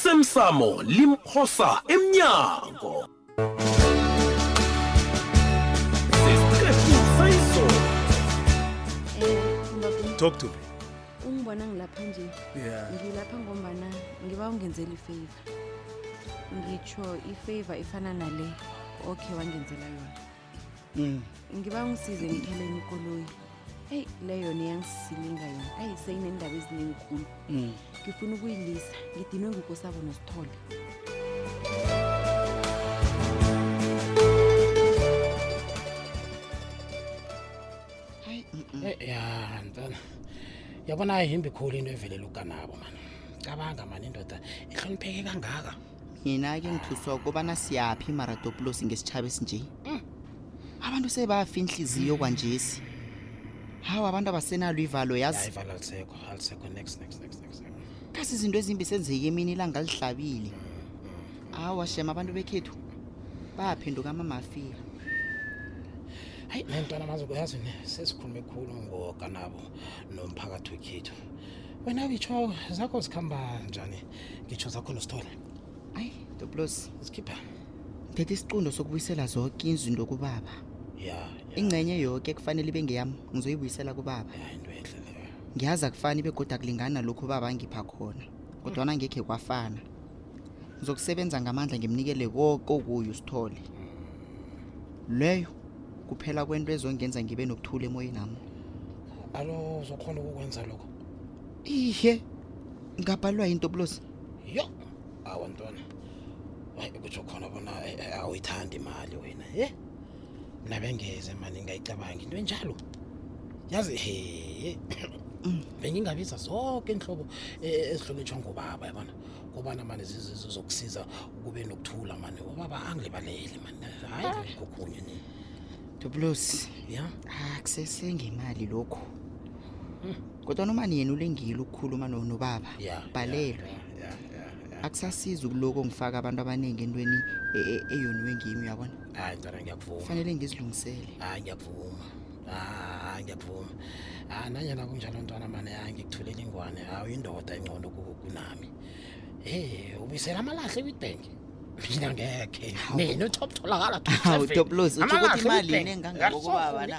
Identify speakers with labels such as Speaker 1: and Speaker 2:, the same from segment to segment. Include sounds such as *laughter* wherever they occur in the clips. Speaker 1: osemsamo limphosa emnyango sesiqephu sayizolo
Speaker 2: talk to me
Speaker 3: ungibona ngilapha nje
Speaker 2: yeah
Speaker 3: ngilapha ngombana ngiba ungenzela ifavor ngitsho ifavor efana nale okay wangenzela yona
Speaker 2: mm.
Speaker 3: ngiba ungisize ngitholeni ikoloyi eyi le yona iyangisilinga yona ayi seyinendaba ezinengikhulu
Speaker 2: Mm.
Speaker 3: ngifuna ukuyilisa ngidinwe ngukosabo nosithole
Speaker 4: Eh, ya mntana yabona yimbi khulu into evelela ukanabo mani cabanga mani indoda ihlonipheke kangaka
Speaker 5: yena-ke ngithuswa ukubana siyaphi imaradopulosi ngesitshaba esinje abantu sebafa inhliziyo kwanjesi hawu abantu abasenalo ivalo yazi
Speaker 4: ayivala alisekho alisekho next next next next next.
Speaker 5: kasi izinto ezimbi senzeke emini ilanga lihlabile hawu shema abantu bekhethu baphenduka amamafiya
Speaker 4: hayi nentwana mazi kuyazi ne, sesikhulume khulu ngokanabo nomphakathi wekhethu wena ngitsho zakho zikhamba njani ngitsho zakho nosithole
Speaker 5: ayi dopulosi
Speaker 4: zikhipha
Speaker 5: ngithethe isicundo sokubuyisela zonke izinto kubaba
Speaker 4: ya ya,
Speaker 5: ingcenye yoke kufanele ibe ngeyami ngizoyibuyisela kubaba
Speaker 4: ya into ehle leyo
Speaker 5: ngiyazi akufani begoda kulingana lokhu baba angipha khona kodwana ngekhe kwafana ngizokusebenza ngamandla ngimnikele koko kuyo usithole leyo kuphela kwento ezongenza ngibe nokuthula emoyeni ami
Speaker 4: alo uzokhona ukukwenza lokho
Speaker 5: ihe ngabhalelwa yinto bulosi
Speaker 4: yo awa ntwana hayi kutsho khona bona eh, eh, awuyithandi imali wena ye mna bengeze mani ngayicabangi into enjalo yazi he bengingabiza zonke inhlobo eh, ezihlonitshwa ngubaba yabona kubana mani ziz- zizokusiza kube nokuthula mani ubaba angilibaleli mani hayi kokunye ni
Speaker 5: dobulosi
Speaker 4: ya
Speaker 5: akusesengemali lokhu kodwa noma niyena ulengile ukukhuluma no- nobaba
Speaker 4: ya
Speaker 5: bhalelwe
Speaker 4: ya ya ya
Speaker 5: akusasiza ukuloko ngifaka abantu abaningi entweni e- e- eyoniwe ngimi uyabona
Speaker 4: hayi ntwana ngiyakuvuma
Speaker 5: kufanele ngizilungisele
Speaker 4: hayi ngiyavuma hayi ngiyavuma hayi nanyana kunjalo ntwana mane hayi ngikuthulele ingwane hawu indoda engcono ku- kunami hey ubuyisela amalahle eWitbank mina ngekhe mina utop tholakala
Speaker 5: Hawu, Top Loss, utjho ukuthi imali inengi kangaka kubaba na?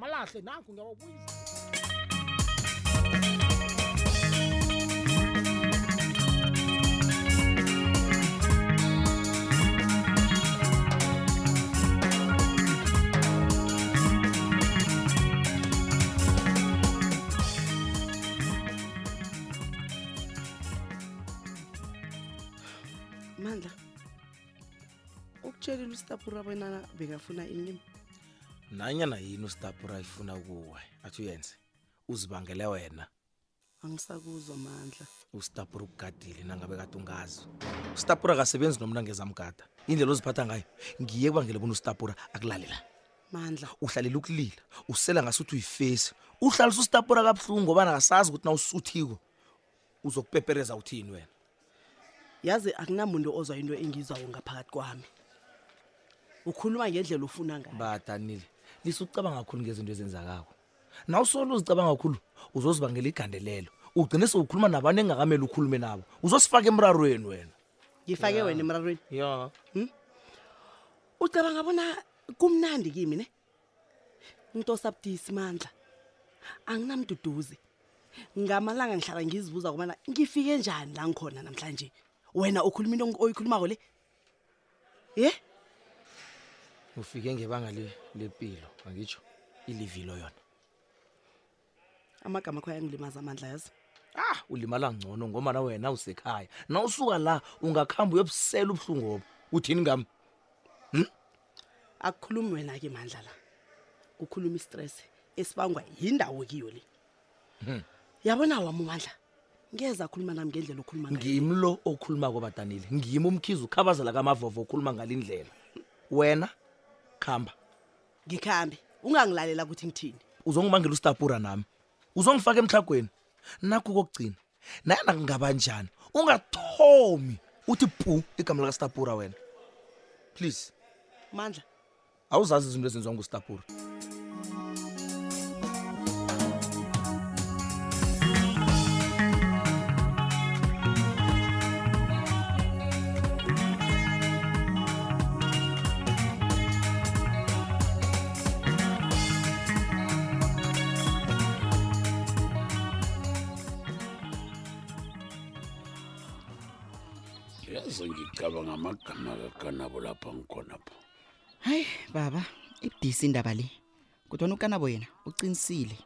Speaker 4: malahle nanku ngiyawabuyisa
Speaker 6: mandla ukutshelile usitapura bonyana bekafuna ini
Speaker 2: nanyana yini ustapura ifuna kuwe athi uyenze uzibangele wena
Speaker 6: angisakuzwa mandla
Speaker 2: ustapura ukugadile nangabe kade ungazi ustapura akasebenzi nomna ngezamgada indlela oziphatha ngayo ngiye kubangele bona ustapura akulalela
Speaker 6: mandla
Speaker 2: uhlalela ukulila usela ngasuthi uyifesi uhlalisa ustapura kabuhlungu ngobana akasazi ukuthi nawusuthiko uzokupepereza uthini wena
Speaker 6: yazi akunamuntu ozwa into engizwayo ngaphakathi kwami ukhuluma ngendlela ufuna ngayo
Speaker 2: badanile lisucabanga kakhulu ngezinto ezenzakako naw solo uzicabanga kakhulu uzozibangela igandelelo ugcine sewukhuluma nabantu engakamele ukhulume nabo uzosifaka emrarweni wena
Speaker 6: ngifake wena emrarweni
Speaker 2: ya
Speaker 6: ucabanga bona kumnandi kimi ne into osabudisi mandla anginamduduzi ngamalanga ngihlala ngizibuza kubana ngifike njani la ngikhona namhlanje wena ukhuluma into oyikhulumako le ye
Speaker 2: ufike ngebanga le- lepilo angitsho ilivilo yona
Speaker 6: amagama akho ayangilimaza amandla yazi
Speaker 2: ah ulimala ngcono ngoma na wena usekhaya na usuka la ungakuhambe uyobusela ubuhlungobo uthini ngami
Speaker 6: akukhulumi wena-ke mandla la kukhuluma istress esibangwa yindawo kiyo le yabona wami umandla ngeza akhuluma nami ngendlela okhuluma ngayo
Speaker 2: ngimlo okhuluma kobadanile ngimi umkhizi ukhabazela kamavovo okhuluma ngalindlela wena khamba
Speaker 6: ngikhambe ungangilalela ukuthi ngithini
Speaker 2: uzongibangela usitapura nami uzongifaka emhlagweni nakho kokugcina nayena kungabanjani ungathomi uthi pu igama likasitapura wena please
Speaker 6: mandla
Speaker 2: awuzazi izinto ezenziwa ngusitapura
Speaker 7: yazi ngicabanga amagama kakanabo lapha ngikhona pha
Speaker 5: hayi baba ibudisi indaba le kodwana ukanabo yena uqinisile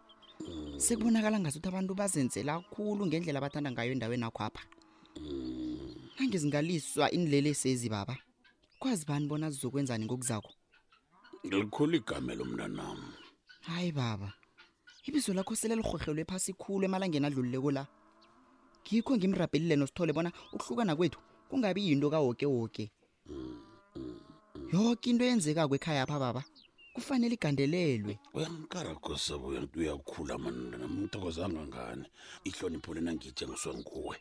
Speaker 5: sekubonakala ngasuthi abantu bazenzela khulu ngendlela abathanda ngayo endaweni akhwapha nangizingaliswa inilelesi ezi baba kwazi bani bona zizokwenzani ngokuzakho
Speaker 7: ngilikhulu igame lomntanam
Speaker 5: hayi baba ibizo lakho sele lirhorhelwe phasi khulu emalangeni adlulileko la ngikho ngimrabhelile nosithole bona ukuhlukana kwethu kungabi yinto kawoke-woke yoke into eyenzekako ekhaya apha baba kufanele igandelelwe
Speaker 7: uyangikara khosabo uyakhula mananam ngithokozanga ngani ihlonipho lena ngitshengiswe nguwe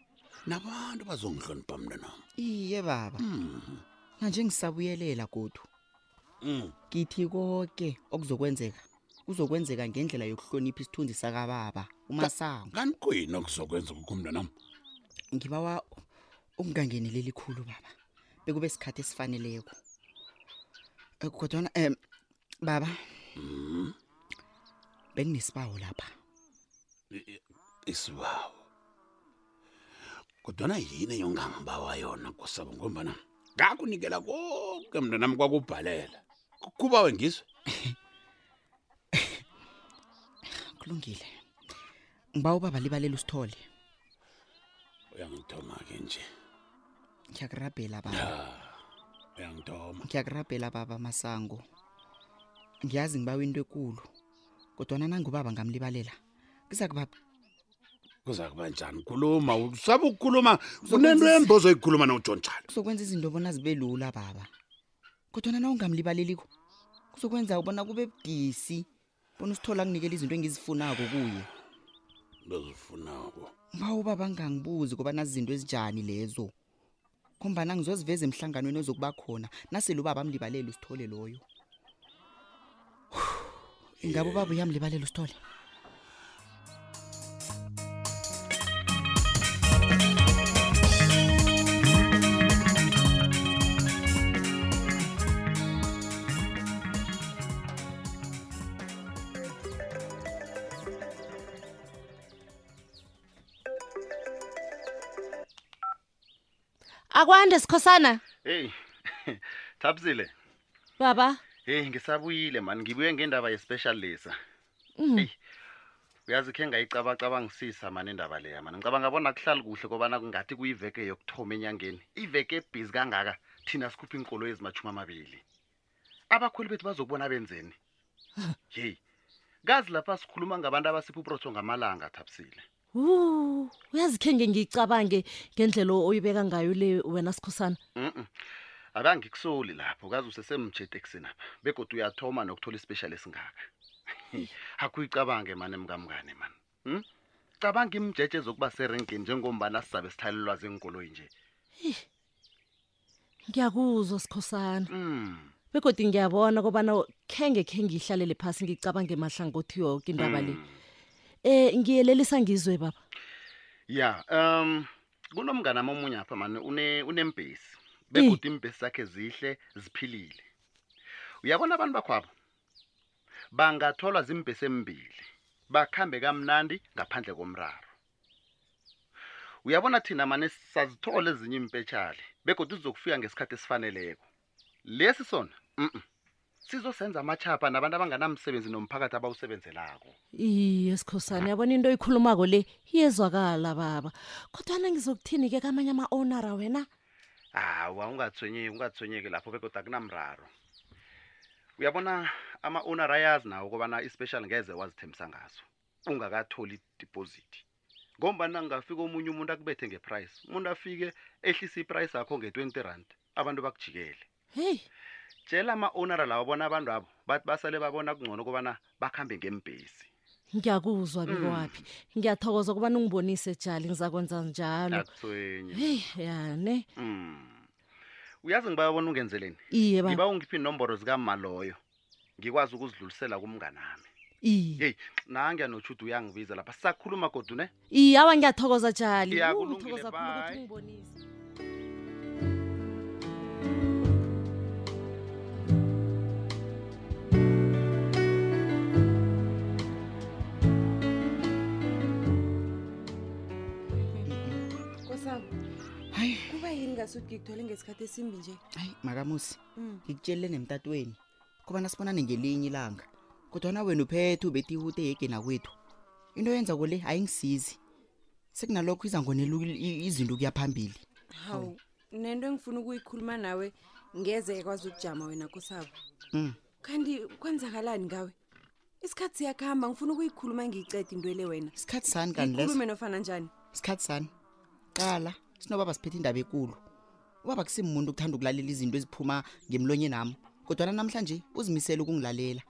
Speaker 7: nabantu bazongihlonipha mntanam
Speaker 5: iye baba nanje ngisabuyelela godu
Speaker 7: Mm.
Speaker 5: ngithi konke okuzokwenzeka kuzokwenzeka ngendlela yokuhlonipha isithunzi sakababa umasango
Speaker 7: kanti kuyini okuzokwenza kukho mntanam
Speaker 5: ngibawa ukungangeneleli khulu baba bekube isikhathi esifaneleko Eh, kodwana um baba
Speaker 7: Mm-hmm.
Speaker 5: benginesibawo lapha
Speaker 7: isibawo kodwana yini yongangibawa yona kosabo ngombana ngakunikela konke mntanam kwakubhalela kubawe ngizwe
Speaker 5: kulungile ngiba ubaba libalela usithole
Speaker 7: uyangithoma ke nje
Speaker 5: ngiyakurabhela baba
Speaker 7: ya uyangithoma
Speaker 5: ngiyakurabhela baba masango ngiyazi ngibawa into ekulu kodwana nangubaba ngamlibalela kuza kuba
Speaker 7: kuza kuba njani khuluma usaba ukukhuluma kunento embi ozoyikhuluma nojohn jalo
Speaker 5: kuzokwenza izinto bona zibe lula baba kodwana na ungamlibaleliko kuzokwenza ubona kube budisi bona usithola akunikela izinto engizifunako kuye
Speaker 7: bezifunako
Speaker 5: ngiba ubaba ngangibuzi kobana zinto ezinjani lezo khombana ngizoziveza emhlanganweni ozokuba khona nasele ubaba amlibalela usithole loyo ingabe ubaba uyamlibalela usithole
Speaker 8: akwande sikhosana
Speaker 9: heyi *laughs* thapsile
Speaker 8: baba
Speaker 9: heyi ngisabuyile mani ngibuye ngendaba yespecial lesa heyi uyazi khe ngayicabacabangisisa mani indaba leya mani ngicabanga bona kuhlali kuhle kobana kungathi kuyiveke yokuthoma enyangeni iveke ebhizi kangaka thina sikhupha iinkolo ezimashumi amabili abakhweli bethu bazokubona benzeni heyi kazi lapha sikhuluma ngabantu abasipha uprotho ngamalanga thapsile
Speaker 8: hu uyazikhe nge ngiyicabange ngendlela oyibeka ngayo le wena sikhosana
Speaker 9: Mm-mm. akangikusoli lapho kaze usesemjede kusenapha begodwa uyathoma nokuthola isipeshali esingaka akuyicabange mani emkamkane mani um cabanga imjeje ezokuba serenkeni njengombana sizabe sithalelwa zenkoloyi nje
Speaker 8: ngiyakuzwa sikhosana
Speaker 9: um
Speaker 8: begodi ngiyabona kobana khenge khe ngiyihlalele phasi ngicabange mahlangothi yoke indaba le um ngiyelelisa ngizwe baba
Speaker 9: ya um kunomngane ami omunye apha mani une- unembhesi begodwa iimbhesi zakhe zihle ziphilile uyabona abantu bakhwabo bangatholwa zimbhesi embili bakhambe kamnandi ngaphandle komraro uyabona thina mane sazithola ezinye impetshali begodwa sizokufika ngesikhathi esifaneleko lesi sona mm sizosenza amachapa nabantu abanganamsebenzi nomphakathi abawusebenzelako
Speaker 8: iye sikhosana yabona into oyikhulumako le iyezwakala baba kodwana ngizokuthini-ke kamanye ama-owunara wena
Speaker 9: hawa ungathonyeki ungathonyeki lapho bekodwa kunamraro uyabona ama-owner ayazi nawo ukubana ispecial ngeze wazithembisa ngazo ungakatholi idipoziti ngombana kungafika omunye umuntu akubethe ngeprice umuntu afike ehlise iprice yakho nge-twenty rand abantu bakujikele
Speaker 8: heyi
Speaker 9: tshela ama-owner lawo bona abantu abo bathi basale babona kungcono ukubana bakhambe ngembhesi
Speaker 8: ngiyakuzwa bekwaphi ngiyathokoza ukubana ungibonise jali ngizakwenza njalo
Speaker 9: akuthwenye
Speaker 8: heyi yane
Speaker 9: Mm. uyazi ngibabona ungenzeleni
Speaker 8: iye baba
Speaker 9: ngiba ungiphi inomboro zikamaloyo ngikwazi ukuzidlulisela kumnganami
Speaker 8: iye
Speaker 9: yeyi nangiya notshuda uyangibiza lapha sisakhuluma godu ne
Speaker 8: iye awa ngiyathokoza jali
Speaker 9: Iya,
Speaker 8: Wu,
Speaker 9: kulungile,
Speaker 8: ngithokoza khulu ukuthi
Speaker 9: bye.
Speaker 8: ungibonise
Speaker 3: kosam
Speaker 5: hayi
Speaker 3: kuba yini ngasuthi ngikuthole ngesikhathi esimbi nje
Speaker 5: hayi makamusi
Speaker 3: Mm.
Speaker 5: ngikutshelile nemtatweni kobana sibonane ngelinye ilanga kodwana wena uphethe ubethi ihute yegena kwethu into yenza kole ayingisizi sekunalokho iza ngoneluka izinto kuya phambili
Speaker 3: hawu
Speaker 2: Mm.
Speaker 3: nento engifuna ukuyikhuluma nawe ngeze ekwazi ukujama wena kusabo
Speaker 5: Mm.
Speaker 3: kanti kwenzakalani ngawe isikhathi siyakuhamba ngifuna ukuyikhuluma ngiyicede into ele wena
Speaker 5: isikhathi sani kanti leso
Speaker 3: ngikhulume nofana njani
Speaker 5: isikhathi sani qala sinobaba siphethe indaba ekulu ubaba kusimuntu ukuthanda ukulalela izinto eziphuma ngemlonyeni nami kodwana namhlanje uzimisele ukungilalela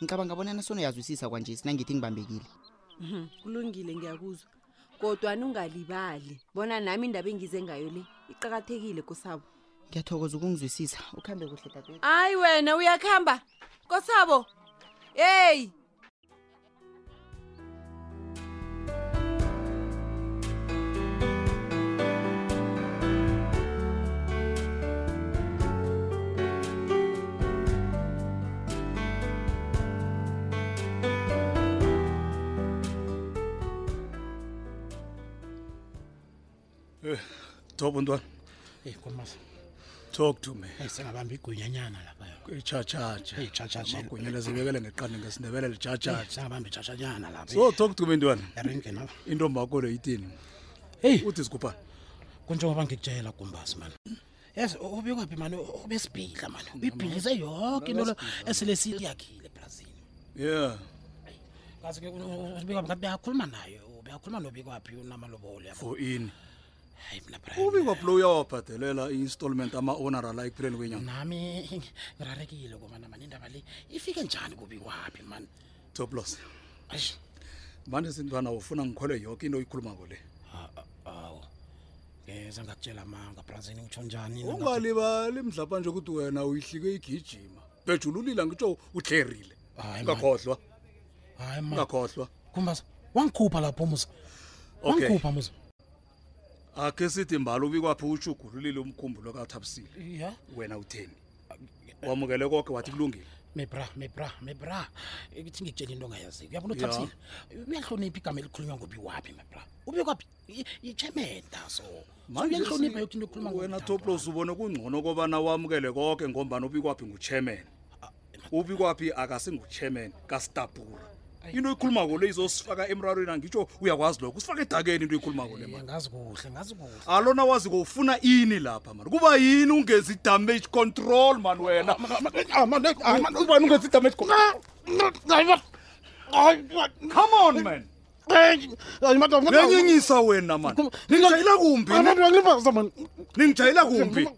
Speaker 5: ngicabanga bonana sonoyazwisisa kwanje sinangithi ngibambekile
Speaker 3: Mhm, kulungile ngiyakuzwa kodwana ungalibali bona nami indaba engize ngayo le iqakathekile kusabo
Speaker 5: ngiyathokoza ukungizwisisa ukuhambe kuhle dadewethu
Speaker 3: hayi wena uyakuhamba kosabo yeyi
Speaker 1: Thobo ntwana,
Speaker 4: eyi komasa
Speaker 1: talk to me.
Speaker 4: eyi sengabamba igunyanyana laphayo
Speaker 1: Ichachacha.
Speaker 4: Eyi, tjhatjhatjha.
Speaker 1: Magunyela zibekele ngeqanda ngesindebele lichachacha.
Speaker 4: sengabamba itshashanyana lapha
Speaker 1: So talk to me ntwana.
Speaker 4: erenkeni apha
Speaker 1: Intombi yakho le yithini?
Speaker 4: heyi
Speaker 1: Uthi sikupha.
Speaker 4: kunjengoba ngikutshela gumbasi mani yes ubikwaphi mani ubesibhidla mani ibhidlise yoke into lo esele siyakhile ebrazini
Speaker 1: Yeah.
Speaker 4: kazi-ke ubikwaphi ngathi beyakhuluma naye beyakhuluma nobikwaphi unamalobolo yabo
Speaker 1: For in.
Speaker 4: hayi mna Brian,
Speaker 1: Ubikwa blow uyawabhadelela i-installment ama owner ala ekupheleni kwenyanga.
Speaker 4: nami *laughs* ngirarekile kobana mani indaba le ifike njani kubikwaphi mani
Speaker 1: Top loss.
Speaker 4: ayi
Speaker 1: Manje sintwana ufuna ngikholwe yonke into oyikhulumako le.
Speaker 4: awu ngeze ngakutshela amanga brazini ngitsho njani na ngathi-
Speaker 1: Ungalibali mhlapa nje ukuthi wena uyihlike igijima. Bejululila ngitsho uthlerile.
Speaker 4: Hayi, man.
Speaker 1: Ungakhohlwa.
Speaker 4: hayi ma
Speaker 1: Ungakhohlwa.
Speaker 4: gumbasa wangikhupha lapho musa
Speaker 1: Okay.
Speaker 4: wangikhupha musa
Speaker 1: akhe sithi mbala ubikwaphi ushugululile umkhumbulo kathabisile
Speaker 4: ya
Speaker 1: wena utheni wamukele konke wathi kulungile
Speaker 4: mebra mebra mebra ukuthi ngikutshela into ongayaziyo uyabona
Speaker 1: Ya.
Speaker 4: uthabisile uyahlonipha igama elikhulunywa ngobi waphi mebra ube kwaphi yichemeda so So
Speaker 1: Manje
Speaker 4: uyahlonipha
Speaker 1: si-
Speaker 4: yokuthi into ekhuluma
Speaker 1: wena toplos ubone kungcono kobana wamukele konke ngombani ubikwaphi nguchairman ubikwaphi akasinguchairman kastabura into oyikhulumako le izosifaka emrarweni angitsho uyakwazi lokho usifake edakeni into oyikhulumako le mani
Speaker 4: ngazi kuhle ngazi kuhle
Speaker 1: alona wazi koufuna ini lapha mani kuba yini ungezi damage control mani wena
Speaker 4: ubani ungenzi idamage
Speaker 1: come on man uyanyinyisa wena mani ningijayela kumbi ningijayela kumbi